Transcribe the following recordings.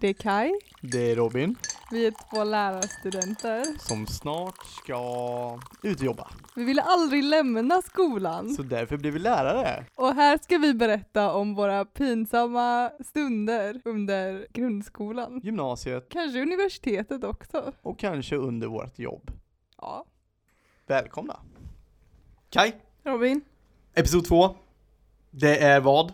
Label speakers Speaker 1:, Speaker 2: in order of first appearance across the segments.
Speaker 1: Det är Kai.
Speaker 2: Det är Robin
Speaker 1: Vi är två lärarstudenter.
Speaker 2: som snart ska ut och jobba.
Speaker 1: Vi ville aldrig lämna skolan.
Speaker 2: Så därför blir vi lärare.
Speaker 1: Och här ska vi berätta om våra pinsamma stunder under grundskolan.
Speaker 2: Gymnasiet
Speaker 1: Kanske universitetet också.
Speaker 2: och kanske under vårt jobb.
Speaker 1: Ja.
Speaker 2: Välkomna! Kaj,
Speaker 1: Robin?
Speaker 2: episod två. Det är vad?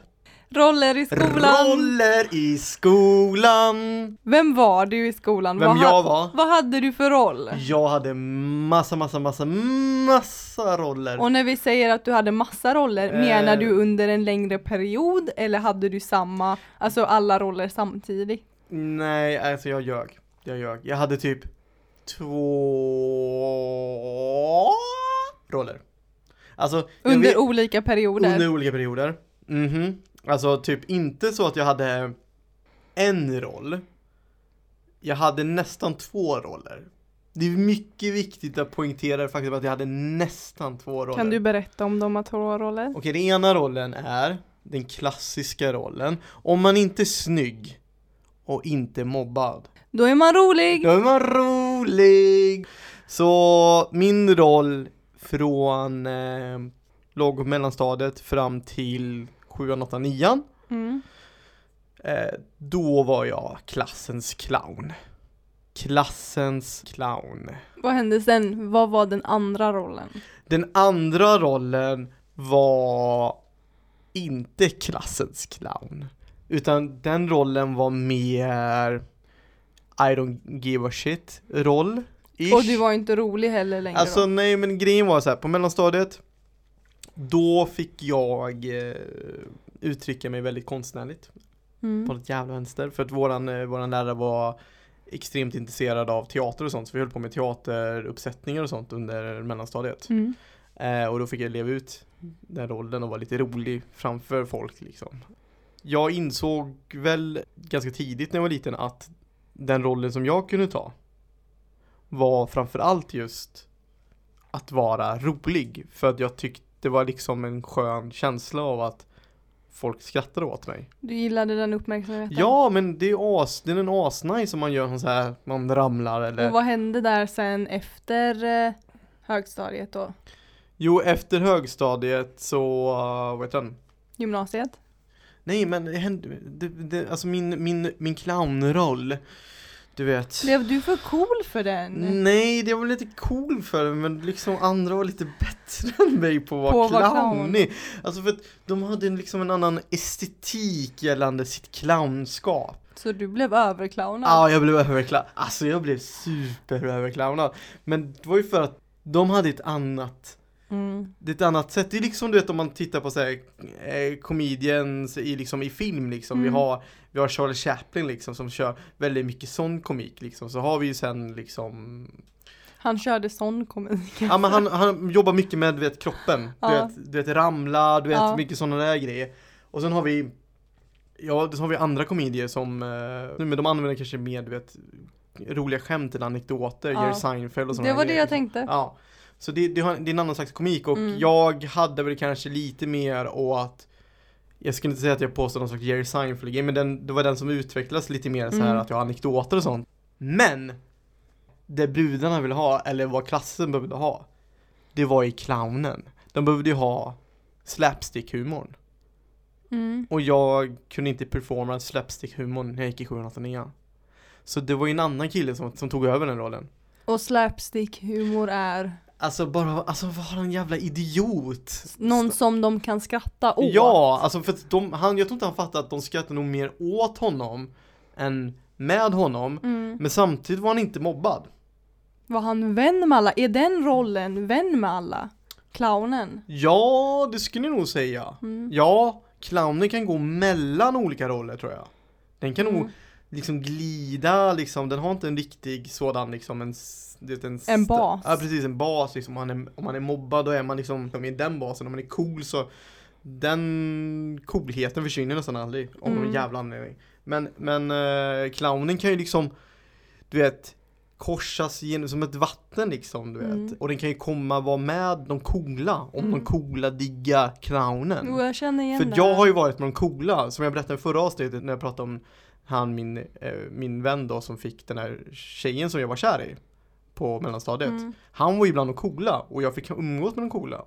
Speaker 1: Roller i skolan.
Speaker 2: Roller i skolan!
Speaker 1: Vem var du i skolan?
Speaker 2: Vem
Speaker 1: vad, ha-
Speaker 2: jag var?
Speaker 1: vad hade du för roll?
Speaker 2: Jag hade massa, massa, massa, massa roller.
Speaker 1: Och när vi säger att du hade massa roller,
Speaker 2: Eh.
Speaker 1: menar du under en längre period eller hade du samma, alltså alla roller samtidigt?
Speaker 2: Nej, alltså jag ljög. Jag ljög. Jag hade typ två roller. Alltså, jag
Speaker 1: Under
Speaker 2: vet-
Speaker 1: olika perioder?
Speaker 2: under olika perioder. Mhm. Alltså typ inte så att jag hade en roll. Jag hade nästan två roller. Det är mycket viktigt att poängtera det faktum att jag hade nästan två roller.
Speaker 1: Kan du berätta om de här två roller?
Speaker 2: Okej, den ena rollen är den klassiska rollen. Om man inte är snygg och inte mobbad.
Speaker 1: Då är man rolig!
Speaker 2: Då är man rolig! Så min roll från eh, låg och mellanstadiet fram till sjuan, åttan, nian.
Speaker 1: Mm.
Speaker 2: Eh, då var jag klassens clown. Klassens clown.
Speaker 1: Vad hände sen? Vad var den andra rollen?
Speaker 2: Den andra rollen var inte klassens clown. Utan den rollen var mer I don't give a shit roll.
Speaker 1: Och du var inte rolig heller längre
Speaker 2: Alltså
Speaker 1: då?
Speaker 2: nej men grejen var så här, på mellanstadiet Då fick jag eh, uttrycka mig väldigt konstnärligt
Speaker 1: Mm.
Speaker 2: på något jävla vänster för att våran, eh, våran lärare var extremt intresserad av teater och sånt så vi höll på med teateruppsättningar och sånt under mellanstadiet.
Speaker 1: Mm.
Speaker 2: Eh, och då fick jag leva ut den rollen och vara lite rolig framför folk liksom. Jag insåg väl ganska tidigt när jag var liten att den rollen som jag kunde ta var framförallt just att vara rolig. För att jag tyckte det var liksom en skön känsla av att folk skrattade åt mig.
Speaker 1: Du gillade den uppmärksamheten?
Speaker 2: Ja, men det är, as, det är en asnice som man gör sån så här, man ramlar eller
Speaker 1: Och vad hände där sen efter eh, högstadiet då?
Speaker 2: Jo, efter högstadiet så, uh, vad heter den?
Speaker 1: Gymnasiet?
Speaker 2: Nej men det hände, det, det, alltså min, min, min clownroll Du vet
Speaker 1: Blev du för cool för den?
Speaker 2: Nej, det var väl lite cool för det, men liksom andra var lite bättre än mig på att
Speaker 1: På
Speaker 2: vara
Speaker 1: att vara
Speaker 2: clownig. Alltså för att de hade en- liksom en annan estetik gällande sitt clownskap.
Speaker 1: Så du blev överclownad?
Speaker 2: Ja, jag blev överclownad. Alltså jag blev superöverclownad. Men det var ju för att de hade ett annat
Speaker 1: Mm.
Speaker 2: det är ett annat sätt. Det är liksom du vet om man tittar på så här, eh, comedians i, liksom, i film liksom.
Speaker 1: Mm.
Speaker 2: Vi, har, vi har Charlie Chaplin liksom som kör väldigt mycket sån komik liksom. Så har vi ju sen liksom
Speaker 1: Han körde sån komik.
Speaker 2: Ja men han, han jobbar mycket med du vet kroppen. Du,
Speaker 1: Ja.
Speaker 2: vet, du vet ramla, du vet
Speaker 1: Ja.
Speaker 2: mycket sådana där grejer. Och sen har vi Ja, sen har vi andra komedier som eh, nu men de använder kanske mer du vet roliga skämt eller anekdoter,
Speaker 1: Ja.
Speaker 2: Jerry Seinfeld och sådana
Speaker 1: Det var
Speaker 2: där
Speaker 1: det
Speaker 2: grejer,
Speaker 1: jag tänkte.
Speaker 2: Ja. Så det, det, har, det är en annan slags komik och
Speaker 1: Mm.
Speaker 2: jag hade väl kanske lite mer åt Jag skulle inte säga att jag påstår någon slags Jerry Seinfeld grej men den, det var den som utvecklades lite mer så här
Speaker 1: Mm.
Speaker 2: att jag har anekdoter och sånt. Men! Det brudarna ville ha, eller vad klassen behövde ha Det var ju clownen. De behövde ju ha slapstick-humorn.
Speaker 1: Mm.
Speaker 2: Och jag kunde inte performa slapstick-humorn när jag gick i 789 Så det var ju en annan kille som, som tog över den rollen.
Speaker 1: Och slapstick-humor är
Speaker 2: Alltså bara, alltså vara en jävla idiot.
Speaker 1: någon som de kan skratta åt.
Speaker 2: Ja, alltså för att de, han, jag tror inte han fattar att de skrattar nog mer åt honom än med honom.
Speaker 1: Mm.
Speaker 2: Men samtidigt var han inte mobbad.
Speaker 1: Var han vän med alla? Är den rollen vän med alla? Clownen?
Speaker 2: Ja, det skulle jag nog säga.
Speaker 1: Mm.
Speaker 2: Ja, clownen kan gå mellan olika roller tror jag. Den kan nog
Speaker 1: Mm.
Speaker 2: liksom glida liksom, den har inte en riktig sådan liksom en s- du vet, en,
Speaker 1: En
Speaker 2: sta-
Speaker 1: bas.
Speaker 2: Ja precis, en bas liksom. Om man är, om man är mobbad då är man liksom i den basen, om man är cool så Den coolheten försvinner nästan aldrig av någon
Speaker 1: Mm.
Speaker 2: jävla anledning. Men, men eh, clownen kan ju liksom, du vet, korsas genom, som ett vatten liksom, du vet.
Speaker 1: Mm.
Speaker 2: Och den kan ju komma vara med de coola, om
Speaker 1: Mm.
Speaker 2: de coola diggar clownen.
Speaker 1: Jo, jag känner igen
Speaker 2: För
Speaker 1: det.
Speaker 2: jag
Speaker 1: här.
Speaker 2: har ju varit med de coola, som jag berättade i förra avsnittet när jag pratade om han min, eh, min vän då som fick den här tjejen som jag var kär i på mellanstadiet.
Speaker 1: Mm.
Speaker 2: Han var ju bland de coola och jag fick umgås med de coola.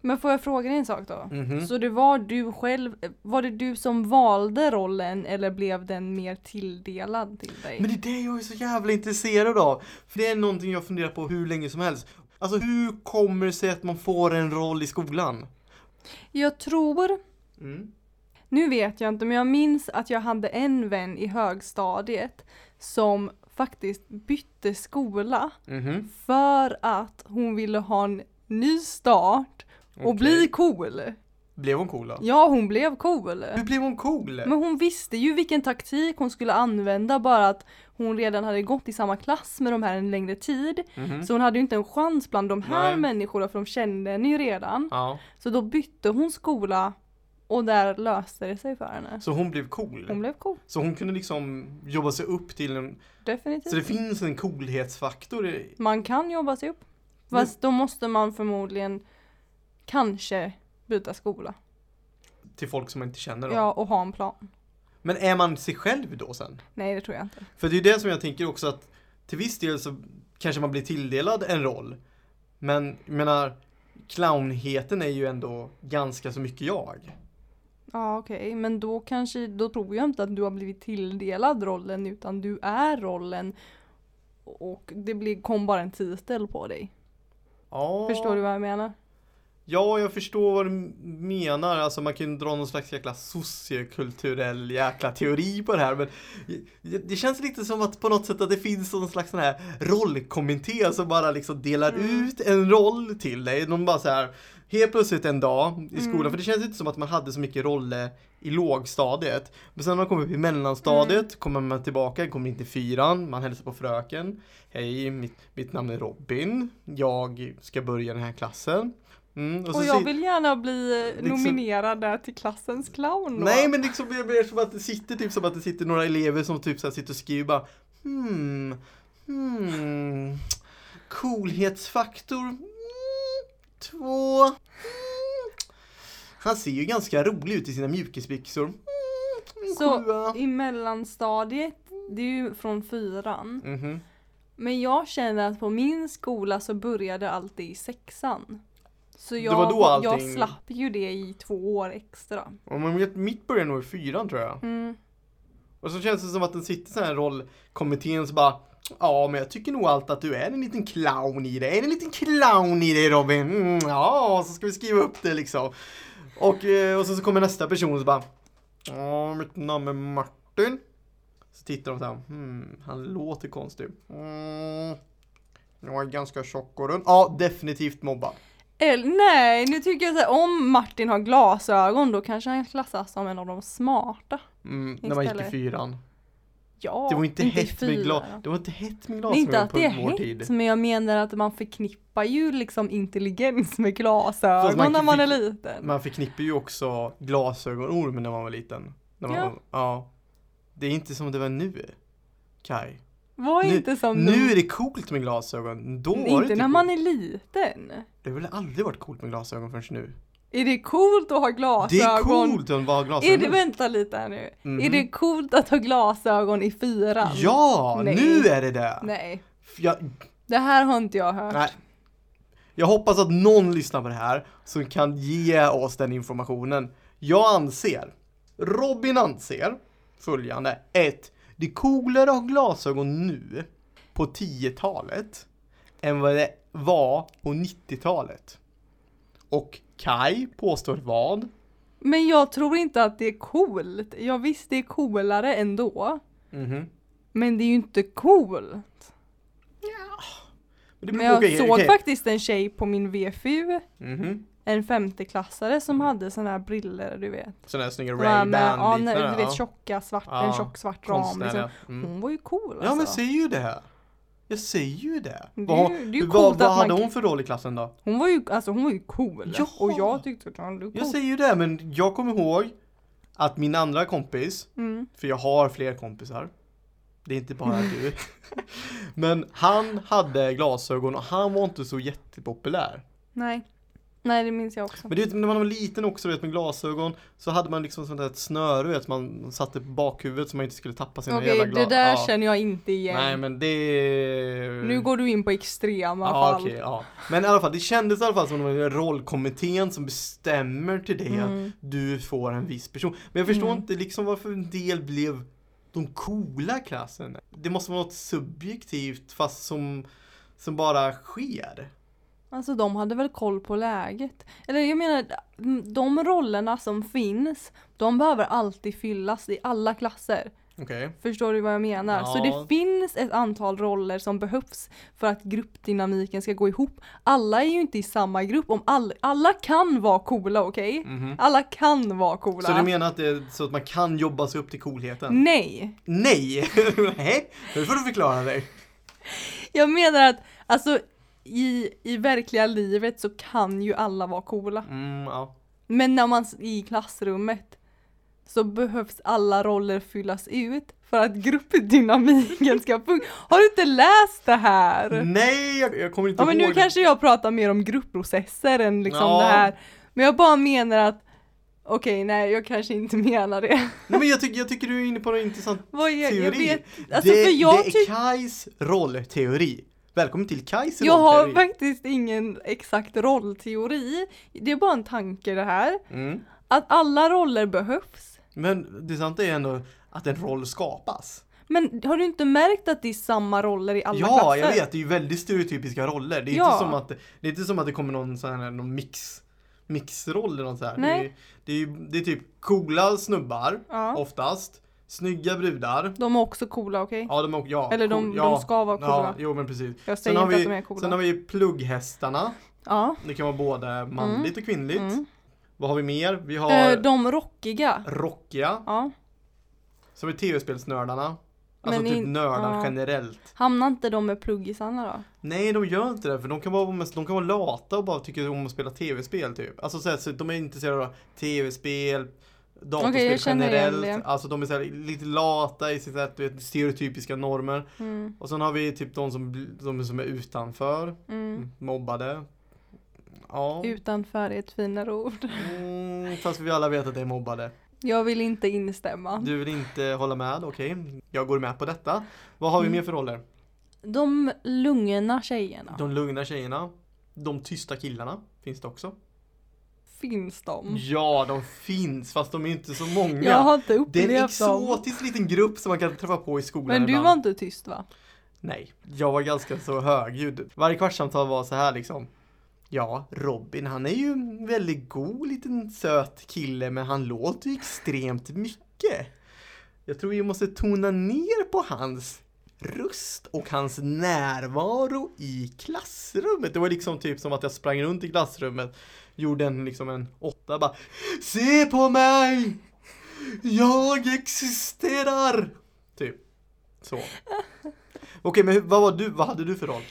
Speaker 1: Men får jag fråga dig en sak då?
Speaker 2: Mhm.
Speaker 1: Så det var du själv, var det du som valde rollen eller blev den mer tilldelad till dig?
Speaker 2: Men det är det jag är så jävla intresserad av. För det är någonting jag funderar på hur länge som helst. Alltså hur kommer det sig att man får en roll i skolan?
Speaker 1: Jag tror
Speaker 2: Mm.
Speaker 1: Nu vet jag inte, men jag minns att jag hade en vän i högstadiet som faktiskt bytte skola
Speaker 2: Mhm.
Speaker 1: för att hon ville ha en ny start och
Speaker 2: Okej.
Speaker 1: bli cool.
Speaker 2: Blev hon cool då?
Speaker 1: Ja, hon blev cool.
Speaker 2: Hur blev hon cool?
Speaker 1: Men hon visste ju vilken taktik hon skulle använda bara att hon redan hade gått i samma klass med de här en längre tid.
Speaker 2: Mhm.
Speaker 1: Så hon hade ju inte en chans bland de här
Speaker 2: Nej.
Speaker 1: människorna för de kände henne ju redan.
Speaker 2: Ja.
Speaker 1: Så då bytte hon skola och där löste det sig för henne.
Speaker 2: Så hon blev cool?
Speaker 1: Hon blev cool,
Speaker 2: Så hon kunde liksom jobba sig upp till en...
Speaker 1: definitivt.
Speaker 2: Så det finns en coolhetsfaktor i...
Speaker 1: Man kan jobba sig upp. Fast då måste man förmodligen kanske byta skola.
Speaker 2: till folk som man inte känner då.
Speaker 1: Ja, och ha en plan.
Speaker 2: Men är man sig själv då sen?
Speaker 1: Nej, det tror jag inte.
Speaker 2: För det är ju det som jag tänker också att till viss del så kanske man blir tilldelad en roll. Men jag menar, clownheten är ju ändå ganska så mycket jag.
Speaker 1: Ja, okej. Men då kanske, då tror jag inte att du har blivit tilldelad rollen utan du är rollen. Och det blir, kom bara en titel på dig.
Speaker 2: Ja,
Speaker 1: Förstår du vad jag menar?
Speaker 2: ja jag förstår vad du menar. Alltså man kan ju dra någon slags jäkla sociokulturell jäkla teori på det här. Men det känns lite som att på något sätt att det finns någon slags sån här rollkommitté som bara liksom delar
Speaker 1: Mm.
Speaker 2: ut en roll till dig. De bara så här helt plötsligt en dag i skolan,
Speaker 1: Mm.
Speaker 2: för det känns inte som att man hade så mycket roller i lågstadiet. Men sen när man kommer upp i mellanstadiet
Speaker 1: Mm.
Speaker 2: kommer man tillbaka, kommer in till fyran, man hälsar på fröken. Hej, mitt, mitt namn är Robin. Jag ska börja den här klassen. Mm,
Speaker 1: Och,
Speaker 2: så
Speaker 1: jag
Speaker 2: sit-
Speaker 1: vill gärna bli eh,
Speaker 2: liksom-
Speaker 1: nominerad där till klassens clown. då.
Speaker 2: Nej men liksom det blir som att det sitter typ som att det sitter några elever som typ så här sitter och skriver bara hmm, hmm, coolhetsfaktor mm, två. Mm. Han ser ju ganska rolig ut i sina mjukisbyxor. Mm, en
Speaker 1: Så-
Speaker 2: sjua.
Speaker 1: I mellanstadiet, det är ju från fyran.
Speaker 2: Mhm.
Speaker 1: Men jag känner att på min skola så började allt det i sexan. Så
Speaker 2: Det
Speaker 1: jag,
Speaker 2: var då allting-
Speaker 1: jag slapp ju det i två år extra.
Speaker 2: Ja, men mitt- mitt börjar nog i fyran tror jag.
Speaker 1: Mm.
Speaker 2: Och så känns det som att den sitter så här rollkommittén så bara Ja, men jag tycker nog allt att du är en liten clown i dig. Är det en liten clown i dig Robin? Mm, ja, så ska vi skriva upp det liksom. Och, eh, och så, så kommer nästa person och så bara Ja, mitt namn är Martin. Så tittar de så här. Hmm, han låter konstig. Mm, jag är ganska tjock och rund. Ja, definitivt mobbad.
Speaker 1: Eller nej, nu tycker jag så här, om Martin har glasögon då kanske han klassas som en av de smarta.
Speaker 2: Mm, när man gick i
Speaker 1: Istället.
Speaker 2: fyran.
Speaker 1: Ja,
Speaker 2: Det var inte,
Speaker 1: i
Speaker 2: hett med glas.
Speaker 1: fyran.
Speaker 2: Det var inte hett med
Speaker 1: Det är inte
Speaker 2: glasögon
Speaker 1: att det är
Speaker 2: på vår
Speaker 1: hett,
Speaker 2: tid.
Speaker 1: men jag menar att man förknippar ju liksom intelligens med glasögon
Speaker 2: Fast man
Speaker 1: när man är
Speaker 2: fick-
Speaker 1: liten.
Speaker 2: Man förknippar ju också glasögonormen när man var liten. När man
Speaker 1: Ja.
Speaker 2: Var, ja. Det är inte som det var nu, Kai.
Speaker 1: Var
Speaker 2: Nu-
Speaker 1: inte som
Speaker 2: Nu är det coolt med glasögon. Då var det typ
Speaker 1: Inte när man är liten.
Speaker 2: Det har väl aldrig varit coolt med glasögon förrän nu?
Speaker 1: Är det coolt att ha glasögon?
Speaker 2: Det är coolt att vara
Speaker 1: Är
Speaker 2: glasögon.
Speaker 1: det, vänta lite här nu.
Speaker 2: Mhm.
Speaker 1: Är det coolt att ha glasögon i fyran?
Speaker 2: Ja,
Speaker 1: Nej.
Speaker 2: nu är det det!
Speaker 1: Nej,
Speaker 2: F- Jag,
Speaker 1: det här har inte jag hört.
Speaker 2: nej. jag hoppas att någon lyssnar på det här som kan ge oss den informationen. Jag anser, Robin anser följande. 1. Det är coolare att ha glasögon nu på 10-talet än vad det var på 90-talet. Och Kai påstår vad?
Speaker 1: Men jag tror inte att det är coolt. Jag visst, det är coolare ändå.
Speaker 2: Mhm.
Speaker 1: Men det är ju inte cool.
Speaker 2: det
Speaker 1: Men
Speaker 2: beror-
Speaker 1: jag
Speaker 2: okej,
Speaker 1: såg
Speaker 2: okej.
Speaker 1: faktiskt en tjej på min VFU,
Speaker 2: Mhm.
Speaker 1: en femteklassare som
Speaker 2: Mm.
Speaker 1: hade sådana här briller du vet.
Speaker 2: Sådana här snygga
Speaker 1: De här med- ja,
Speaker 2: Ray-Ban-liknande.
Speaker 1: Du vet tjocka svart,
Speaker 2: Ja.
Speaker 1: en tjock svart ram. Liksom.
Speaker 2: Konstnärliga. Mm.
Speaker 1: Hon var ju cool
Speaker 2: Ja men
Speaker 1: alltså.
Speaker 2: ser ju det här. Jag säger ju det.
Speaker 1: Det är
Speaker 2: vad
Speaker 1: ju- det är ju
Speaker 2: vad,
Speaker 1: coolt
Speaker 2: vad
Speaker 1: att
Speaker 2: hade
Speaker 1: man-
Speaker 2: hon för roll i klassen då?
Speaker 1: Hon var ju, alltså hon var ju cool.
Speaker 2: Ja!
Speaker 1: Och jag tyckte att hon var
Speaker 2: Jag
Speaker 1: cool.
Speaker 2: säger ju det, men jag kommer ihåg att min andra kompis,
Speaker 1: Mm.
Speaker 2: för jag har fler kompisar, det är inte bara du, men han hade glasögon och han var inte så jättepopulär.
Speaker 1: Nej. Nej, det minns jag också.
Speaker 2: Men du vet, när man var liten också vet, med glasögon så hade man liksom sånt där ett snöre vet, som man satte på bakhuvudet så man inte skulle tappa sina
Speaker 1: Okej,
Speaker 2: jävla
Speaker 1: det
Speaker 2: glasögon.
Speaker 1: där känner jag inte igen.
Speaker 2: Nej men det...
Speaker 1: Nu går du in på extrema
Speaker 2: ja,
Speaker 1: fall.
Speaker 2: okej, ja. Men i alla fall, det kändes i alla fall som att det var rollkommittén som bestämmer till dig
Speaker 1: Mm.
Speaker 2: att du får en viss person. Men jag förstår
Speaker 1: Mm.
Speaker 2: inte liksom varför en del blev de coola i klassen. Det måste vara något subjektivt fast som, som bara sker.
Speaker 1: Alltså de hade väl koll på läget. Eller jag menar, de rollerna som finns, de behöver alltid fyllas i alla klasser.
Speaker 2: Okej.
Speaker 1: Förstår du vad jag menar? Så
Speaker 2: Ja.
Speaker 1: det finns ett antal roller som behövs för att gruppdynamiken ska gå ihop. Alla är ju inte i samma grupp. Om all, alla kan vara coola, okej?
Speaker 2: mhm.
Speaker 1: Alla kan vara coola.
Speaker 2: Mm. Så du menar att det är så att man kan jobba sig upp till coolheten?
Speaker 1: Mm. Nej!
Speaker 2: Nej! Nej, nu får du förklara dig.
Speaker 1: Jag menar att alltså i, i verkliga livet så kan ju alla vara coola.
Speaker 2: Mm, ja.
Speaker 1: Men när man s- i klassrummet så behövs alla roller fyllas ut för att gruppdynamiken ska funka. Har du inte läst det
Speaker 2: Mm,
Speaker 1: här?
Speaker 2: Nej, jag, jag kommer inte
Speaker 1: Ja men nu
Speaker 2: ihåg.
Speaker 1: kanske jag pratar mer om gruppprocesser än liksom
Speaker 2: Ja.
Speaker 1: det här. Men jag bara menar att okej, nej jag kanske inte menar det.
Speaker 2: Nej, men jag, tycker, jag tycker du är inne på något intressant.
Speaker 1: Vad jag, jag
Speaker 2: Teori.
Speaker 1: vet, alltså
Speaker 2: det,
Speaker 1: för jag
Speaker 2: det
Speaker 1: tycker
Speaker 2: är Kais rollteori. Välkommen till Kais
Speaker 1: Jag har
Speaker 2: rollteori.
Speaker 1: faktiskt ingen exakt rollteori. Det är bara en tanke det här.
Speaker 2: Mm.
Speaker 1: Att alla roller behövs.
Speaker 2: Men det santa är ändå att en roll skapas.
Speaker 1: Men har du inte märkt att det är samma roller i alla
Speaker 2: ja,
Speaker 1: klasser?
Speaker 2: jag vet. Det är ju väldigt stereotypiska roller. Det är,
Speaker 1: Ja.
Speaker 2: inte, som att, det är inte som att det kommer någon sån här någon mix, mixroll eller något så här.
Speaker 1: Nej.
Speaker 2: Det, är, det, är, ju- det är typ coola snubbar,
Speaker 1: Ja.
Speaker 2: oftast. Snygga brudar.
Speaker 1: De är också coola, okej?
Speaker 2: Ja, de, är ok- ja,
Speaker 1: Eller de- de
Speaker 2: cool- ja,
Speaker 1: ska vara
Speaker 2: Ja,
Speaker 1: coola.
Speaker 2: jo men precis.
Speaker 1: Jag
Speaker 2: Sen
Speaker 1: säger
Speaker 2: har,
Speaker 1: inte att de
Speaker 2: vi,
Speaker 1: är coola.
Speaker 2: sen har vi plugghästarna.
Speaker 1: Ja.
Speaker 2: Det kan vara både manligt och kvinnligt.
Speaker 1: Mm.
Speaker 2: Vad har vi mer? Vi har
Speaker 1: Eh, De rockiga.
Speaker 2: rockiga.
Speaker 1: Ja.
Speaker 2: Så har vi tv-spelsnördarna. Alltså
Speaker 1: Men
Speaker 2: typ
Speaker 1: in-
Speaker 2: nördar
Speaker 1: ja.
Speaker 2: generellt.
Speaker 1: Hamnar inte de med pluggisarna då?
Speaker 2: Nej, de gör inte det för de kan vara, mest- de kan vara lata och bara tycka om att spela tv-spel typ. Alltså så här, så de är intresserade av tv-spel, datorspel
Speaker 1: Okej, jag känner igen
Speaker 2: generellt.
Speaker 1: det.
Speaker 2: Alltså de är så här, lite lata i sitt så här, du vet, stereotypiska normer.
Speaker 1: Mm.
Speaker 2: Och sen har vi typ de som, bl- de som är utanför,
Speaker 1: Mm.
Speaker 2: mobbade. Ja.
Speaker 1: Utanför är ett finare ord.
Speaker 2: Mm, fast vi alla vet att det är mobbade.
Speaker 1: Jag vill inte instämma.
Speaker 2: Du vill inte hålla med, okej. Jag går med på detta. Vad har vi
Speaker 1: Mm.
Speaker 2: mer för roller?
Speaker 1: De lugna tjejerna.
Speaker 2: De lugna tjejerna. De tysta killarna finns det också.
Speaker 1: Mm. Finns de?
Speaker 2: Ja, de finns fast de är inte så många.
Speaker 1: Jag har inte
Speaker 2: det är en
Speaker 1: upplevt dem.
Speaker 2: exotisk liten grupp som man kan träffa på i skolan
Speaker 1: Men du
Speaker 2: ibland.
Speaker 1: var inte tyst va?
Speaker 2: Nej, jag var ganska så högljudd. Varje kvartssamtal var så här liksom. Ja, Robin han är ju en väldigt god liten söt kille men han låter ju extremt mycket. Jag tror vi måste tona ner på hans röst och hans närvaro i klassrummet. Det var liksom typ som att jag sprang runt i klassrummet, gjorde en liksom en åtta bara Se på mig! Jag existerar! Typ. Så. Okej, men hur, vad var du, vad hade du för roll?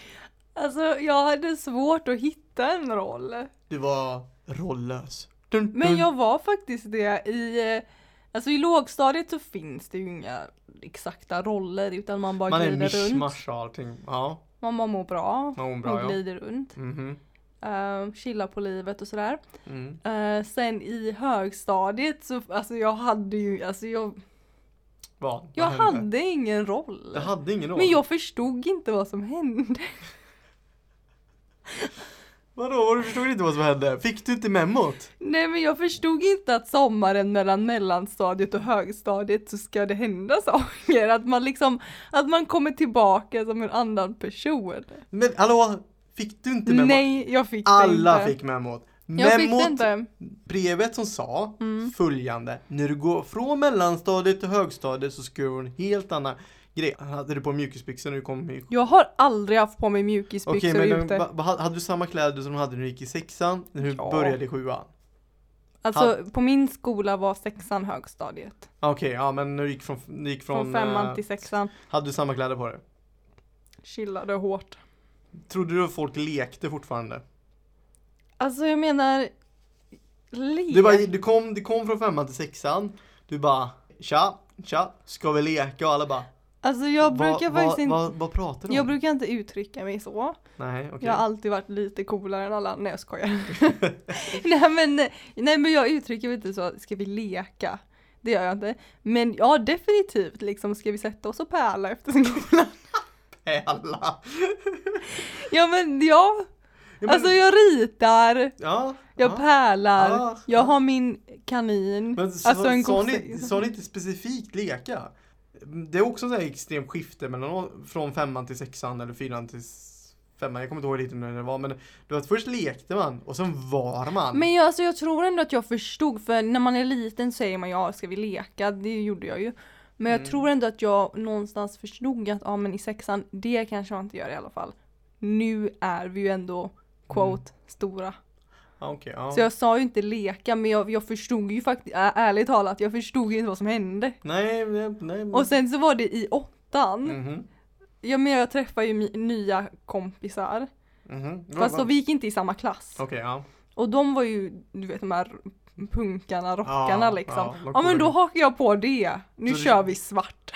Speaker 1: Alltså jag hade svårt att hitta en roll.
Speaker 2: Du var rolllös. Dun,
Speaker 1: Men
Speaker 2: dun.
Speaker 1: jag var faktiskt det i eh, Alltså i lågstadiet så finns det ju inga exakta roller utan man bara
Speaker 2: Man är en
Speaker 1: glider runt.
Speaker 2: mischmasch av allting. Ja,
Speaker 1: Man bara mår bra,
Speaker 2: man mår
Speaker 1: man
Speaker 2: bra ja.
Speaker 1: glider runt,
Speaker 2: Mhm.
Speaker 1: uh, chillar på livet och sådär.
Speaker 2: Mm.
Speaker 1: Eh, sen i högstadiet så, alltså jag hade ju, alltså jag,
Speaker 2: Vad? vad
Speaker 1: jag
Speaker 2: hände?
Speaker 1: hade ingen roll.
Speaker 2: Jag hade ingen roll.
Speaker 1: Men jag förstod inte vad som hände.
Speaker 2: Vadå, var du förstod inte vad som hände? Fick du inte memot?
Speaker 1: Nej men jag förstod inte att sommaren mellan mellanstadiet och högstadiet så ska det hända saker. Att man liksom, att man kommer tillbaka som en annan person.
Speaker 2: Men hallå, fick du inte memot?
Speaker 1: Nej, jag fick det
Speaker 2: Alla
Speaker 1: inte.
Speaker 2: fick memot.
Speaker 1: jag fick det
Speaker 2: Memot,
Speaker 1: inte.
Speaker 2: brevet som sa
Speaker 1: Mm.
Speaker 2: följande. När du går från mellanstadiet till högstadiet så ska du ha en helt annan grej. Hade du på mjukisbyxor när du kom i
Speaker 1: Jag har aldrig haft på mig
Speaker 2: Okej,
Speaker 1: mjukisbyxor
Speaker 2: men
Speaker 1: ute.
Speaker 2: va- va- hade du samma kläder som du hade när du gick i sexan? När du
Speaker 1: Ja.
Speaker 2: började i sjuan?
Speaker 1: Alltså på min skola var sexan högstadiet.
Speaker 2: Ah, Okej, ja men när du gick från, när du gick
Speaker 1: Från,
Speaker 2: från,
Speaker 1: femman
Speaker 2: eh,
Speaker 1: till sexan.
Speaker 2: Hade du samma kläder på dig?
Speaker 1: Chillade hårt.
Speaker 2: Trodde du att folk lekte fortfarande?
Speaker 1: Alltså jag menar... Le...
Speaker 2: Du, bara, du, kom, du kom från femman till sexan, du bara tja, tja, ska vi leka? Och alla bara
Speaker 1: Alltså jag brukar
Speaker 2: vad,
Speaker 1: faktiskt
Speaker 2: vad,
Speaker 1: inte...
Speaker 2: vad, vad pratar du om?
Speaker 1: Jag brukar inte uttrycka mig så.
Speaker 2: Nej, okej.
Speaker 1: Jag har alltid varit lite coolare än alla. Nej jag skojar. nej, men, nej men jag uttrycker mig inte så, ska vi leka? Det gör jag inte. Men ja definitivt liksom, ska vi sätta oss och pärla efter skolan?
Speaker 2: Alla.
Speaker 1: ja men ja.
Speaker 2: Ja, men-
Speaker 1: Alltså jag ritar,
Speaker 2: ja,
Speaker 1: jag
Speaker 2: ja.
Speaker 1: pärlar,
Speaker 2: Ja.
Speaker 1: jag har min kanin.
Speaker 2: Men så,
Speaker 1: alltså en
Speaker 2: sa,
Speaker 1: gosse-
Speaker 2: ni, sa ni inte specifikt leka? Det är också ett extremt skifte mellan, från femman till sexan eller fyran till s- femman. Jag kommer inte ihåg riktigt när det var men du vet, först lekte man och sen var man.
Speaker 1: Men jag, alltså, jag tror ändå att jag förstod, för när man är liten säger man ja, ska vi leka? Det gjorde jag ju. Men jag
Speaker 2: Mm.
Speaker 1: tror ändå att jag någonstans förstod att, ja men i sexan, det kanske man inte gör i alla fall. Nu är vi ju ändå, quote, stora.
Speaker 2: Ja, Ah, okej, Mm. ja.
Speaker 1: Så jag sa ju inte leka, men jag, jag förstod ju faktiskt, äh, ärligt talat, jag förstod ju inte vad som hände.
Speaker 2: Mm. Nej, nej, nej.
Speaker 1: Och sen så var det i åttan,
Speaker 2: Mhm,
Speaker 1: ja men jag träffade ju mi- nya kompisar.
Speaker 2: mhm. Vad-
Speaker 1: Fast då
Speaker 2: vad-
Speaker 1: vi gick inte i samma klass.
Speaker 2: Okej, ja.
Speaker 1: Och de var ju, du vet de här punkarna, rockarna
Speaker 2: Ja,
Speaker 1: liksom.
Speaker 2: ja,
Speaker 1: Ja,
Speaker 2: de kommer
Speaker 1: men då
Speaker 2: in.
Speaker 1: hakar jag på det. Nu
Speaker 2: Så det-
Speaker 1: kör vi svart.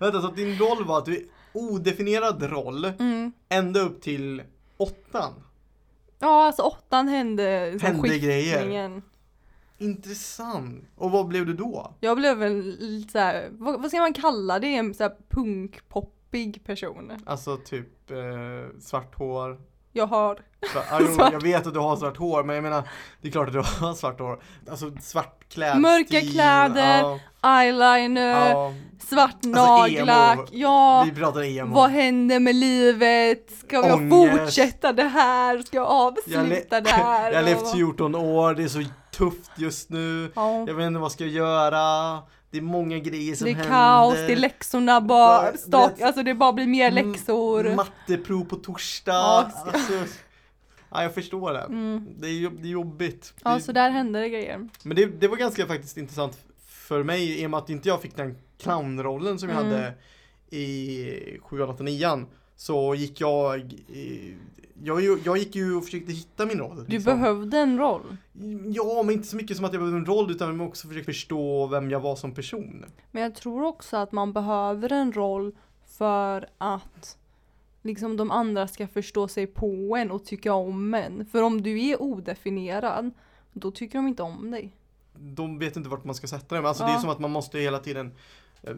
Speaker 2: Vänta, så att din roll var att du odefinierad roll
Speaker 1: Mm.
Speaker 2: ända upp till åttan?
Speaker 1: Ja alltså åttan hände liksom,
Speaker 2: Hände grejer.
Speaker 1: skiftningen.
Speaker 2: Intressant. Och vad blev du då?
Speaker 1: Jag blev väl lite såhär, vad, vad ska man kalla det? En såhär punkpoppig person.
Speaker 2: Alltså typ eh, svart hår,
Speaker 1: Jag har,
Speaker 2: Va- Ja, jo,
Speaker 1: Svart.
Speaker 2: jag vet att du har svart hår, men jag menar, det är klart att du har svart hår. Alltså svart klädstil.
Speaker 1: Mörka kläder,
Speaker 2: ja,
Speaker 1: eyeliner,
Speaker 2: ja. Alltså,
Speaker 1: svart nagellack.
Speaker 2: emo.
Speaker 1: ja.
Speaker 2: Vi pratar emo.
Speaker 1: Vad händer med livet? Ska jag
Speaker 2: Ångest.
Speaker 1: fortsätta det här? Ska jag
Speaker 2: Jag le-
Speaker 1: avsluta det här?
Speaker 2: jag har
Speaker 1: Och-
Speaker 2: levt 14 år, det är så tufft just nu.
Speaker 1: Ja.
Speaker 2: Jag vet inte vad jag ska göra. Det är många grejer som
Speaker 1: Det är
Speaker 2: händer.
Speaker 1: kaos, det är läxorna bara,
Speaker 2: Bara-
Speaker 1: stak,
Speaker 2: det-
Speaker 1: alltså det bara blir mer
Speaker 2: M-
Speaker 1: läxor.
Speaker 2: Mm, Matteprov på torsdag.
Speaker 1: Ja, Mm.
Speaker 2: Ja, alltså, ja jag förstår det. Det, är, jobb- det är jobbigt.
Speaker 1: ja,
Speaker 2: Det-
Speaker 1: så där hände det grejer.
Speaker 2: Men det, det var ganska faktiskt intressant för mig i och med att inte jag fick den clownrollen som jag
Speaker 1: Mm.
Speaker 2: hade i 7 8 9 så gick jag i, jag, ju- jag gick ju och försökte hitta min roll. liksom.
Speaker 1: Du behövde en roll.
Speaker 2: Ja, men inte så mycket som att jag behövde en roll utan jag också försökte förstå vem jag var som person.
Speaker 1: Men jag tror också att man behöver en roll för att liksom de andra ska förstå sig på en och tycka om en. För om du är odefinierad, då tycker de inte om dig.
Speaker 2: De vet inte vart man ska sätta dem. Alltså det är
Speaker 1: Ja.
Speaker 2: som att man måste hela tiden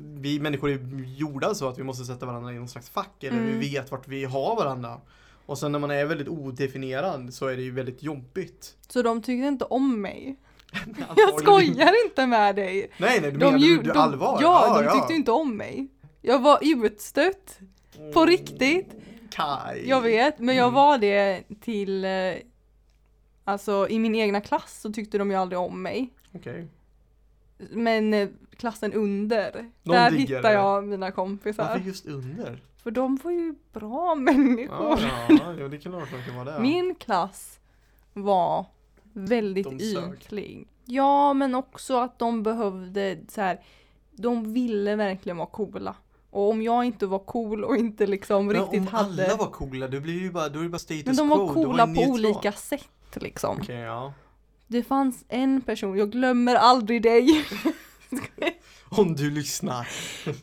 Speaker 2: vi människor är gjorda så att vi måste sätta varandra i någon slags fack eller
Speaker 1: Mm.
Speaker 2: vi vet vart vi har varandra. Och sen när man är väldigt odefinierad så är det ju väldigt jobbigt.
Speaker 1: Så de tyckte inte om mig. Jag
Speaker 2: Antagligen.
Speaker 1: skojar inte med dig!
Speaker 2: Nej nej, du menar du,
Speaker 1: ju-
Speaker 2: du allvar?
Speaker 1: Ja, de tyckte ju inte om mig. Jag var utstött, på riktigt.
Speaker 2: Mm. Kaj.
Speaker 1: Jag vet, men jag
Speaker 2: Mm.
Speaker 1: var det till eh, Alltså i min egna klass så tyckte de ju aldrig om mig.
Speaker 2: Okej.
Speaker 1: Men eh, klassen under,
Speaker 2: De
Speaker 1: där
Speaker 2: diggar
Speaker 1: hittar
Speaker 2: dig.
Speaker 1: jag mina
Speaker 2: Varför
Speaker 1: kompisar.
Speaker 2: just under?
Speaker 1: För de var ju bra
Speaker 2: Ja,
Speaker 1: människor.
Speaker 2: ja, ja, det kan klart att det var det.
Speaker 1: Min klass var
Speaker 2: De
Speaker 1: väldigt
Speaker 2: sög.
Speaker 1: ytlig. Ja, men också att de behövde så här. De ville verkligen vara coola. Och om jag inte var cool och inte liksom
Speaker 2: Men
Speaker 1: riktigt
Speaker 2: om
Speaker 1: hade.
Speaker 2: alla var coola, då blir det ju bara, då är det bara status
Speaker 1: men de var
Speaker 2: quo, då är det
Speaker 1: coola på
Speaker 2: neutral.
Speaker 1: olika sätt liksom.
Speaker 2: Okej, ja.
Speaker 1: Det fanns en person, jag glömmer aldrig dig.
Speaker 2: Om du lyssnar.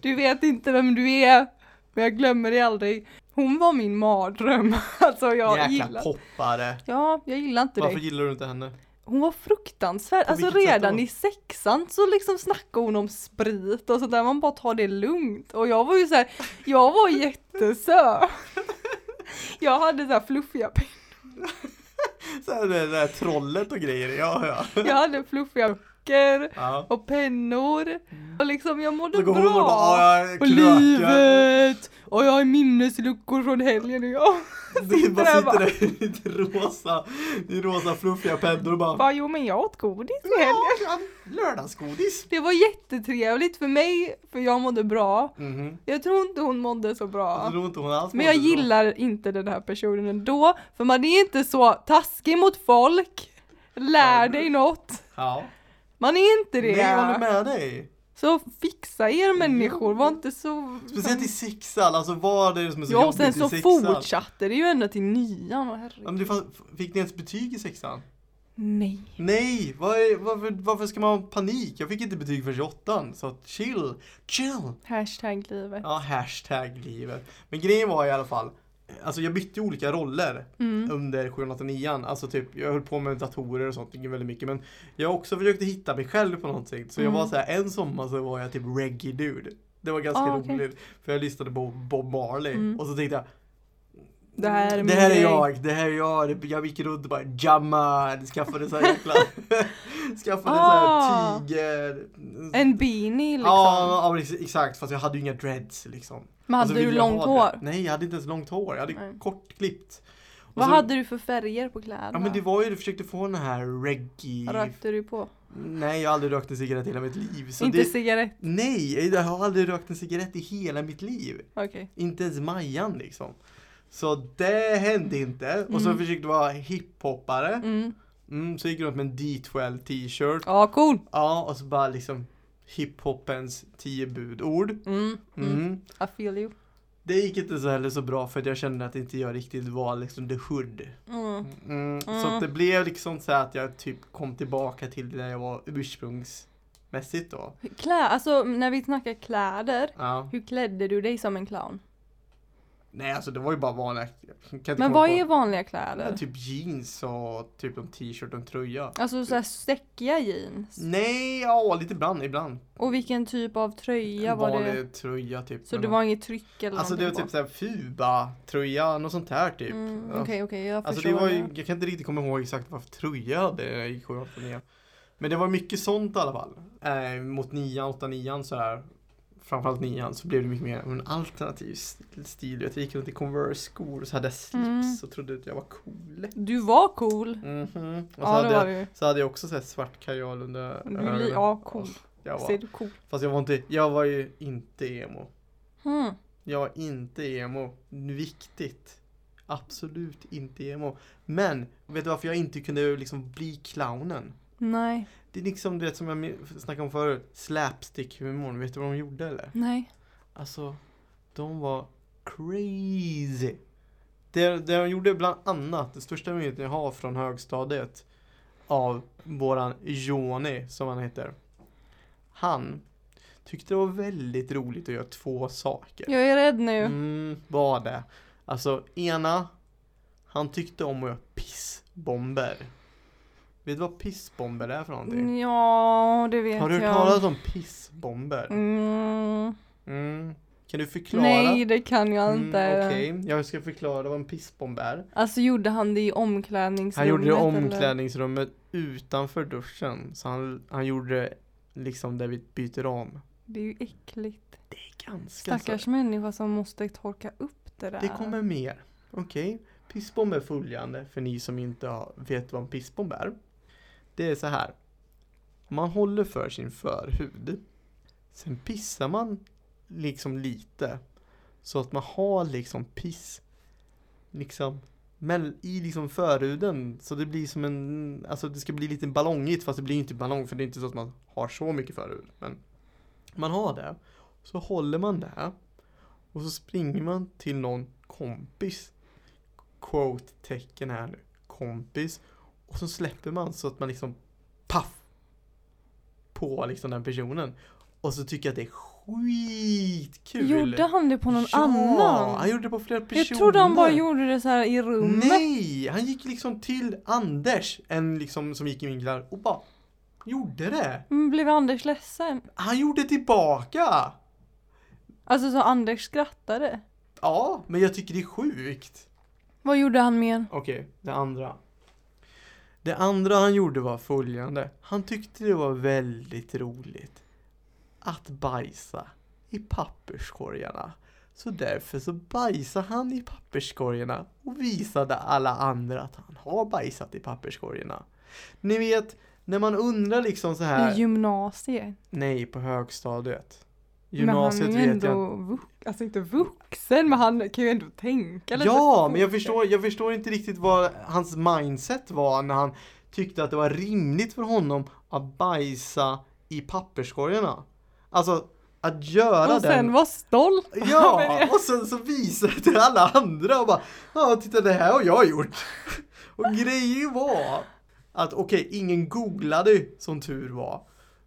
Speaker 1: Du vet inte vem du är, men jag glömmer dig aldrig. Hon var min mardröm. Alltså jag
Speaker 2: Jäkla
Speaker 1: gillar...
Speaker 2: poppare.
Speaker 1: Ja, jag gillar inte
Speaker 2: Varför
Speaker 1: dig.
Speaker 2: gillar du inte henne?
Speaker 1: Hon var fruktansvärd. Alltså
Speaker 2: vilket sätt
Speaker 1: redan
Speaker 2: då?
Speaker 1: i sexan så liksom snackade hon om sprit och sådär. Man bara tar det lugnt. Och jag var ju så här, jag var jättesöt. Jag hade så här fluffiga pin-
Speaker 2: Så här, det där trollet och grejer, ja ja.
Speaker 1: Jag hade fluffiga böcker
Speaker 2: ja.
Speaker 1: och pennor. Och liksom jag mådde
Speaker 2: Mm. Så går
Speaker 1: bra.
Speaker 2: hon och bara, ja,
Speaker 1: Och
Speaker 2: krökar.
Speaker 1: livet! Och jag har minnesluckor från helgen och jag
Speaker 2: Det bara
Speaker 1: där
Speaker 2: sitter
Speaker 1: bara.
Speaker 2: där i ditt rosa, i rosa fluffiga pennor och bara
Speaker 1: bara jo men jag åt godis i helgen.
Speaker 2: Ja, lördagsgodis.
Speaker 1: Det var jättetrevligt för mig, för jag mådde bra.
Speaker 2: Mhm.
Speaker 1: Jag tror inte hon mådde så
Speaker 2: Jag
Speaker 1: bra.
Speaker 2: tror inte hon alls
Speaker 1: Men jag
Speaker 2: Alltså, mådde så.
Speaker 1: gillar inte den här personen ändå, för man är inte så taskig mot folk. Lär dig något.
Speaker 2: Ja.
Speaker 1: Man är inte
Speaker 2: Nej, jag håller
Speaker 1: det.
Speaker 2: med dig.
Speaker 1: Så fixa er människor, var inte så...
Speaker 2: Speciellt i sexan, alltså vad är det som är så
Speaker 1: Ja och
Speaker 2: jobbigt
Speaker 1: sen
Speaker 2: i
Speaker 1: så
Speaker 2: sexan?
Speaker 1: fortsatte det ju ända till nian, åh, herregud.
Speaker 2: Ja, men du fa- fick ni ens betyg i sexan?
Speaker 1: Nej.
Speaker 2: Nej, vad är, varför, varför ska man ha panik? Jag fick inte betyg för 28 så att chill, chill!
Speaker 1: Hashtag livet.
Speaker 2: Ja, hashtag livet. Men grejen var i alla fall, alltså jag bytte ju olika roller
Speaker 1: Mm.
Speaker 2: under 789 Alltså typ, jag höll på med datorer och sånt väldigt mycket. Men jag också försökte hitta mig själv på någonting. Så jag
Speaker 1: Mm.
Speaker 2: var så här, en sommar så var jag typ reggae dude. Det var ganska
Speaker 1: Ah, okej.
Speaker 2: roligt. För jag lyssnade på Bob Marley.
Speaker 1: Mm.
Speaker 2: Och så tänkte jag,
Speaker 1: Det här är min grej."
Speaker 2: jag, det här är jag. Jag gick runt och bara jamma, skaffade så här jäkla, skaffade
Speaker 1: Ah.
Speaker 2: så här tiger.
Speaker 1: En beanie liksom.
Speaker 2: Ja, ja, precis, exakt. Fast jag hade ju inga dreads liksom.
Speaker 1: Men
Speaker 2: Och så
Speaker 1: hade du
Speaker 2: ville jag
Speaker 1: långt
Speaker 2: ha det. Alltså,
Speaker 1: hår?
Speaker 2: Nej, jag hade inte ens långt hår. Jag hade
Speaker 1: Nej.
Speaker 2: kortklippt. Och
Speaker 1: Vad
Speaker 2: så-
Speaker 1: hade du för färger på kläderna?
Speaker 2: Ja men det var ju, du försökte få den här reggae...
Speaker 1: Rökte du på?
Speaker 2: Nej, jag har aldrig rökt en cigarett i hela mitt liv. Så
Speaker 1: inte
Speaker 2: det...
Speaker 1: cigarett?
Speaker 2: Nej, jag har aldrig rökt en cigarett i hela mitt liv.
Speaker 1: Okej.
Speaker 2: Inte ens Majan liksom. Så det hände inte. Och så
Speaker 1: Mm.
Speaker 2: försökte jag vara hiphoppare.
Speaker 1: Mm.
Speaker 2: Mm, så gick jag runt med en D12 t-shirt.
Speaker 1: Ja, cool!
Speaker 2: Ja, och så bara liksom hiphopens tio budord.
Speaker 1: Mm. Mm.
Speaker 2: Mm.
Speaker 1: I feel you.
Speaker 2: Det gick inte så heller så bra för att jag kände att inte jag riktigt var liksom the hood.
Speaker 1: Mm.
Speaker 2: Mm, Så
Speaker 1: Mm.
Speaker 2: att det blev liksom så här att jag typ kom tillbaka till där jag var ursprungsmässigt då.
Speaker 1: Klä, alltså när vi snackar kläder,
Speaker 2: Ja.
Speaker 1: hur klädde du dig som en clown?
Speaker 2: Nej alltså det var ju bara vanliga. jag Kan inte
Speaker 1: Men
Speaker 2: komma
Speaker 1: vad
Speaker 2: på-
Speaker 1: är vanliga
Speaker 2: Ja,
Speaker 1: kläder?
Speaker 2: Typ jeans och typ en t-shirt och en tröja.
Speaker 1: Alltså såhär säckiga jeans?
Speaker 2: Nej, ja lite ibland, ibland.
Speaker 1: Och vilken typ av tröja
Speaker 2: en
Speaker 1: var
Speaker 2: vanlig
Speaker 1: det?
Speaker 2: tröja typ.
Speaker 1: Så
Speaker 2: med
Speaker 1: det
Speaker 2: någon-
Speaker 1: var inget tryck eller
Speaker 2: Alltså det var
Speaker 1: någonting
Speaker 2: typ såhär Fuba-tröja, något sånt här typ.
Speaker 1: på? Mm, Okej,
Speaker 2: Ja.
Speaker 1: okej, jag
Speaker 2: Alltså det
Speaker 1: förstår.
Speaker 2: var ju, jag kan inte riktigt komma ihåg exakt vad för tröja jag hade när jag gick sjuan på nian. Men det var mycket sånt i alla fall. Eh, mot nian, åtta, nian sådär. Framförallt nian så blev det mycket mer en alternativ st- stil. Jag gick runt i Converse-skor och så hade jag slips
Speaker 1: Mm.
Speaker 2: och trodde att jag var cool.
Speaker 1: Du var cool!
Speaker 2: Mhm. Och så,
Speaker 1: Ja,
Speaker 2: hade
Speaker 1: det var
Speaker 2: jag,
Speaker 1: du.
Speaker 2: så hade jag också så här svart kajal under
Speaker 1: Du är li- ja, cool.
Speaker 2: Jag
Speaker 1: Ser
Speaker 2: var,
Speaker 1: du cool?
Speaker 2: fast jag var, inte, jag var ju inte emo.
Speaker 1: Hmm.
Speaker 2: Jag var inte emo. Viktigt. Absolut inte emo. Men, vet du varför jag inte kunde liksom bli clownen?
Speaker 1: Nej,
Speaker 2: Det är liksom, du vet som jag min- snackade om förut, slapstick-humorn. Vet du vad de gjorde eller?
Speaker 1: nej.
Speaker 2: Alltså, de var crazy. Det, det de gjorde bland annat, det största minnet jag har från högstadiet av våran Joni, som han heter. Han tyckte det var väldigt roligt att göra två saker.
Speaker 1: Jag är rädd nu.
Speaker 2: Mm, var det. Alltså ena, han tyckte om att göra pissbomber. Vet du vad pissbomber är för någonting?
Speaker 1: Ja, Mm, det vet
Speaker 2: Mm, Har du
Speaker 1: jag.
Speaker 2: hört talas om pissbomber?
Speaker 1: Mm.
Speaker 2: Mm. Kan du förklara?
Speaker 1: Nej, det kan jag
Speaker 2: Mm,
Speaker 1: inte.
Speaker 2: Okej, jag ska förklara vad en pissbomb är.
Speaker 1: Alltså gjorde han det i omklädningsrummet?
Speaker 2: Han gjorde det i
Speaker 1: eller?
Speaker 2: omklädningsrummet utanför duschen. Så han, han gjorde det liksom där vi byter om.
Speaker 1: Det är ju äckligt.
Speaker 2: Det är ganska så-
Speaker 1: Stackars människa som måste torka upp det där.
Speaker 2: Det kommer mer. Okej. Pissbomb är följande för ni som inte har- vet vad en pissbomb är. Det är så här. Man håller för sin förhud. Sen pissar man liksom lite. Så att man har liksom piss liksom men i liksom förhuden så det blir som en, alltså det ska bli lite ballongigt fast det blir ju inte ballong för det är inte så att man har så mycket förhud. Men man har det. Så håller man det. Och så springer man till någon kompis. Quote-tecken här nu. Kompis. Och så släpper man så att man liksom paff! På liksom den personen. Och så tycker jag att det är skitkul.
Speaker 1: Gjorde han det på någon
Speaker 2: ja,
Speaker 1: annan?
Speaker 2: han gjorde det på flera personer.
Speaker 1: Jag trodde han bara gjorde det så här i rummet.
Speaker 2: Nej, han gick liksom till Anders, en liksom som gick i min klass och bara gjorde det.
Speaker 1: Men blev Anders ledsen?
Speaker 2: Han gjorde tillbaka.
Speaker 1: Alltså så Anders skrattade.
Speaker 2: Ja, men jag tycker det är sjukt.
Speaker 1: Vad gjorde han mer?
Speaker 2: Okej, det andra. Det andra han gjorde var följande. Han tyckte det var väldigt roligt att bajsa i papperskorgarna. Så därför så bajsade han i papperskorgarna och visade alla andra att han har bajsat i papperskorgarna. Ni vet, när man undrar liksom så här.
Speaker 1: I gymnasiet?
Speaker 2: Nej, på högstadiet.
Speaker 1: men
Speaker 2: Gymnasiet
Speaker 1: han är ju
Speaker 2: vet jag
Speaker 1: ändå vux- alltså inte vuxen men han kan ju ändå tänka lite.
Speaker 2: Ja, men jag förstår, jag förstår inte riktigt vad hans mindset var när han tyckte att det var rimligt för honom att bajsa i papperskorgarna. Alltså att göra
Speaker 1: Och sen
Speaker 2: den.
Speaker 1: var stolt.
Speaker 2: Ja, och sen så visa det till alla andra och bara ja, titta det här har jag gjort. Och grejen var att okej, ingen googlade som tur var.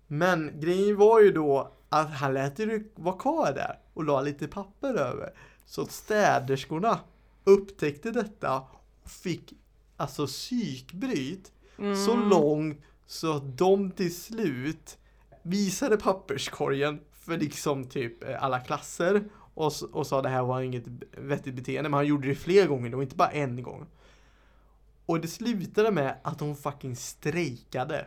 Speaker 2: Men grejen var ju då att han lät det vara kvar där och la lite papper över. Så städerskorna upptäckte detta och fick alltså psykbryt Mm. så
Speaker 1: Mm.
Speaker 2: långt så att de till slut visade papperskorgen för liksom typ eh, alla klasser och, s- och sa det här var inget vettigt beteende. Men han gjorde det fler gånger då, inte bara en gång. Och det slutade med att de fucking strejkade.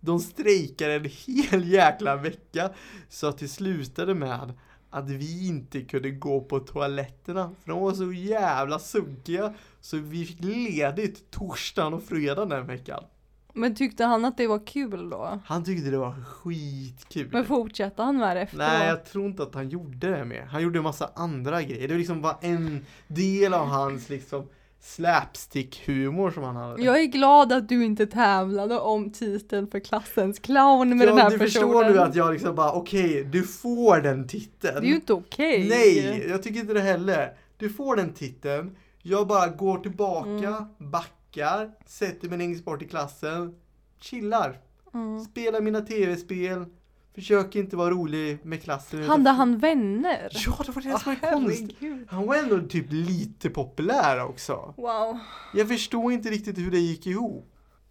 Speaker 2: De strejkade en hel jäkla vecka så att det slutade med att vi inte kunde gå på toaletterna för de var så jävla sunkiga så vi fick ledigt torsdagen och fredagen den veckan.
Speaker 1: Men tyckte han att det var kul då?
Speaker 2: Han tyckte det var skitkul.
Speaker 1: Men fortsatte han med det efteråt?
Speaker 2: Nej, jag tror inte att han gjorde det mer. Han gjorde en massa andra grejer. Det var liksom bara en del av hans liksom slapstick-humor som han hade.
Speaker 1: Jag är glad att du inte tävlade om titeln för klassens clown med
Speaker 2: Ja,
Speaker 1: den här
Speaker 2: du
Speaker 1: personen.
Speaker 2: förstår nu att jag liksom bara, okej, du får den titeln.
Speaker 1: Det är ju inte okej.
Speaker 2: Nej, jag tycker inte det heller. Du får den titeln. Jag bara går tillbaka,
Speaker 1: Mm.
Speaker 2: backar, sätter mig längst bort i klassen, chillar.
Speaker 1: Mm.
Speaker 2: Spelar mina tv-spel. Försöker inte vara rolig med klassen. utan-
Speaker 1: Hade han vänner?
Speaker 2: Ja, det var det som
Speaker 1: Åh,
Speaker 2: var konstigt.
Speaker 1: Ah, herregud.
Speaker 2: Han var ändå typ lite populär också.
Speaker 1: Wow.
Speaker 2: Jag förstår inte riktigt hur det gick ihop.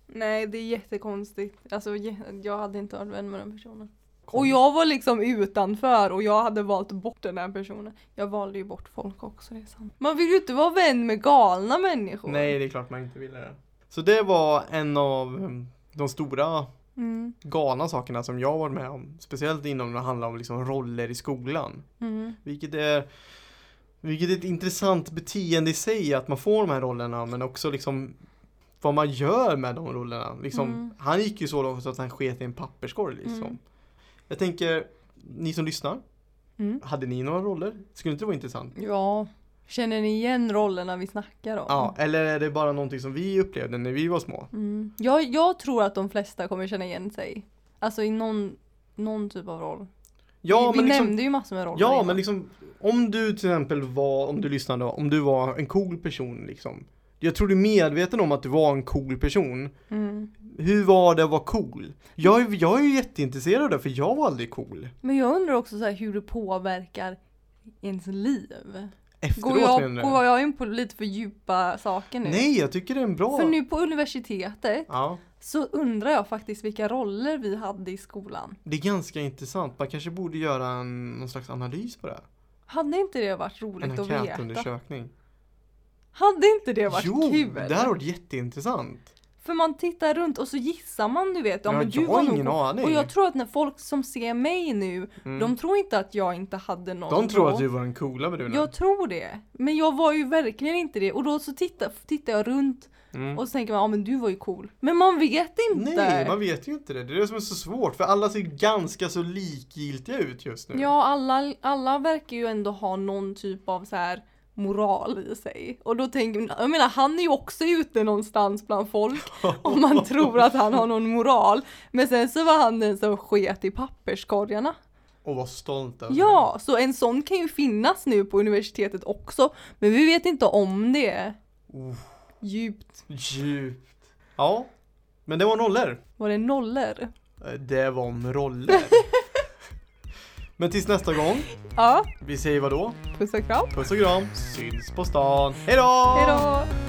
Speaker 1: Nej, det är jättekonstigt. Alltså, jä- jag hade inte varit vän med den personen. Och jag var liksom utanför och jag hade valt bort den här personen. Jag valde ju bort folk också, det är sant. Man vill ju inte vara vän med galna människor.
Speaker 2: Nej, det är klart man inte ville det. Så det var en av mm, de stora
Speaker 1: Mm,
Speaker 2: galna sakerna som jag varit med om. Speciellt inom när det handlar om liksom roller i skolan.
Speaker 1: mm,
Speaker 2: Vilket är, vilket är ett intressant beteende i sig att man får de här rollerna men också liksom vad man gör med de rollerna. Liksom,
Speaker 1: Mm.
Speaker 2: Han gick ju så långt så att han sket i en papperskorg. Liksom.
Speaker 1: Mm.
Speaker 2: Jag tänker, ni som lyssnar,
Speaker 1: mm.
Speaker 2: hade ni några roller? Skulle inte det vara intressant?
Speaker 1: Ja. Känner ni igen rollerna vi snackar om?
Speaker 2: Ja, eller är det bara någonting som vi upplevde när vi var små?
Speaker 1: Mm. Jag, jag tror att de flesta kommer känna igen sig. Alltså i någon, någon typ av roll.
Speaker 2: Ja,
Speaker 1: vi vi
Speaker 2: men liksom,
Speaker 1: nämnde ju massor med roller.
Speaker 2: Ja,
Speaker 1: innan.
Speaker 2: men liksom om du till exempel var, om du lyssnade, om du var en cool person liksom. Jag tror du är medveten om att du var en cool person.
Speaker 1: Mm.
Speaker 2: Hur var det att vara cool? Jag, är- jag är ju jätteintresserad av det, för jag var aldrig cool.
Speaker 1: men jag undrar också så här hur det påverkar ens liv.
Speaker 2: Efteråt
Speaker 1: Går jag,
Speaker 2: menar du?
Speaker 1: går jag in på lite för djupa saker nu?
Speaker 2: Nej, jag tycker det är en bra...
Speaker 1: För nu på universitetet
Speaker 2: Ja,
Speaker 1: så undrar jag faktiskt vilka roller vi hade i skolan.
Speaker 2: det är ganska intressant. Man kanske borde göra en, någon slags analys på det. här.
Speaker 1: Hade inte det varit roligt
Speaker 2: En
Speaker 1: att veta?
Speaker 2: enkätundersökning.
Speaker 1: Hade inte det varit
Speaker 2: Jo,
Speaker 1: kul?
Speaker 2: det här har varit jätteintressant.
Speaker 1: För man tittar runt och så gissar man, du vet. Ja,
Speaker 2: Ja,
Speaker 1: men du
Speaker 2: jag
Speaker 1: var
Speaker 2: har
Speaker 1: nog
Speaker 2: ingen aning.
Speaker 1: Och jag tror att när folk som ser mig nu,
Speaker 2: Mm.
Speaker 1: de tror inte att jag inte hade någon
Speaker 2: De tror
Speaker 1: då.
Speaker 2: att du var den coola bruden.
Speaker 1: Jag tror det. Men jag var ju verkligen inte det. Och då så tittar, tittar jag runt
Speaker 2: Mm.
Speaker 1: och så tänker man, ja men du var ju cool. Men man vet inte.
Speaker 2: Nej, man vet ju inte det. Det är det som är så svårt, för alla ser ganska så likgiltiga ut just nu.
Speaker 1: Ja, alla, alla verkar ju ändå ha någon typ av så här moral i sig. Och då tänker man, jag menar han är ju också ute någonstans bland folk om man tror att han har någon moral. Men sen så var han den som sket i papperskorgarna.
Speaker 2: Och var stolt över
Speaker 1: Ja, så en sån kan ju finnas nu på universitetet också. Men vi vet inte om det.
Speaker 2: det. Oh,
Speaker 1: Djupt.
Speaker 2: djupt. Ja, men det var nollor.
Speaker 1: Var det nollor?
Speaker 2: Eh, Det var om roller. men tills nästa gång,
Speaker 1: Ja,
Speaker 2: vi säger vadå?
Speaker 1: puss och kram.
Speaker 2: Puss och kram, syns på stan. Hej då!
Speaker 1: Hejdå!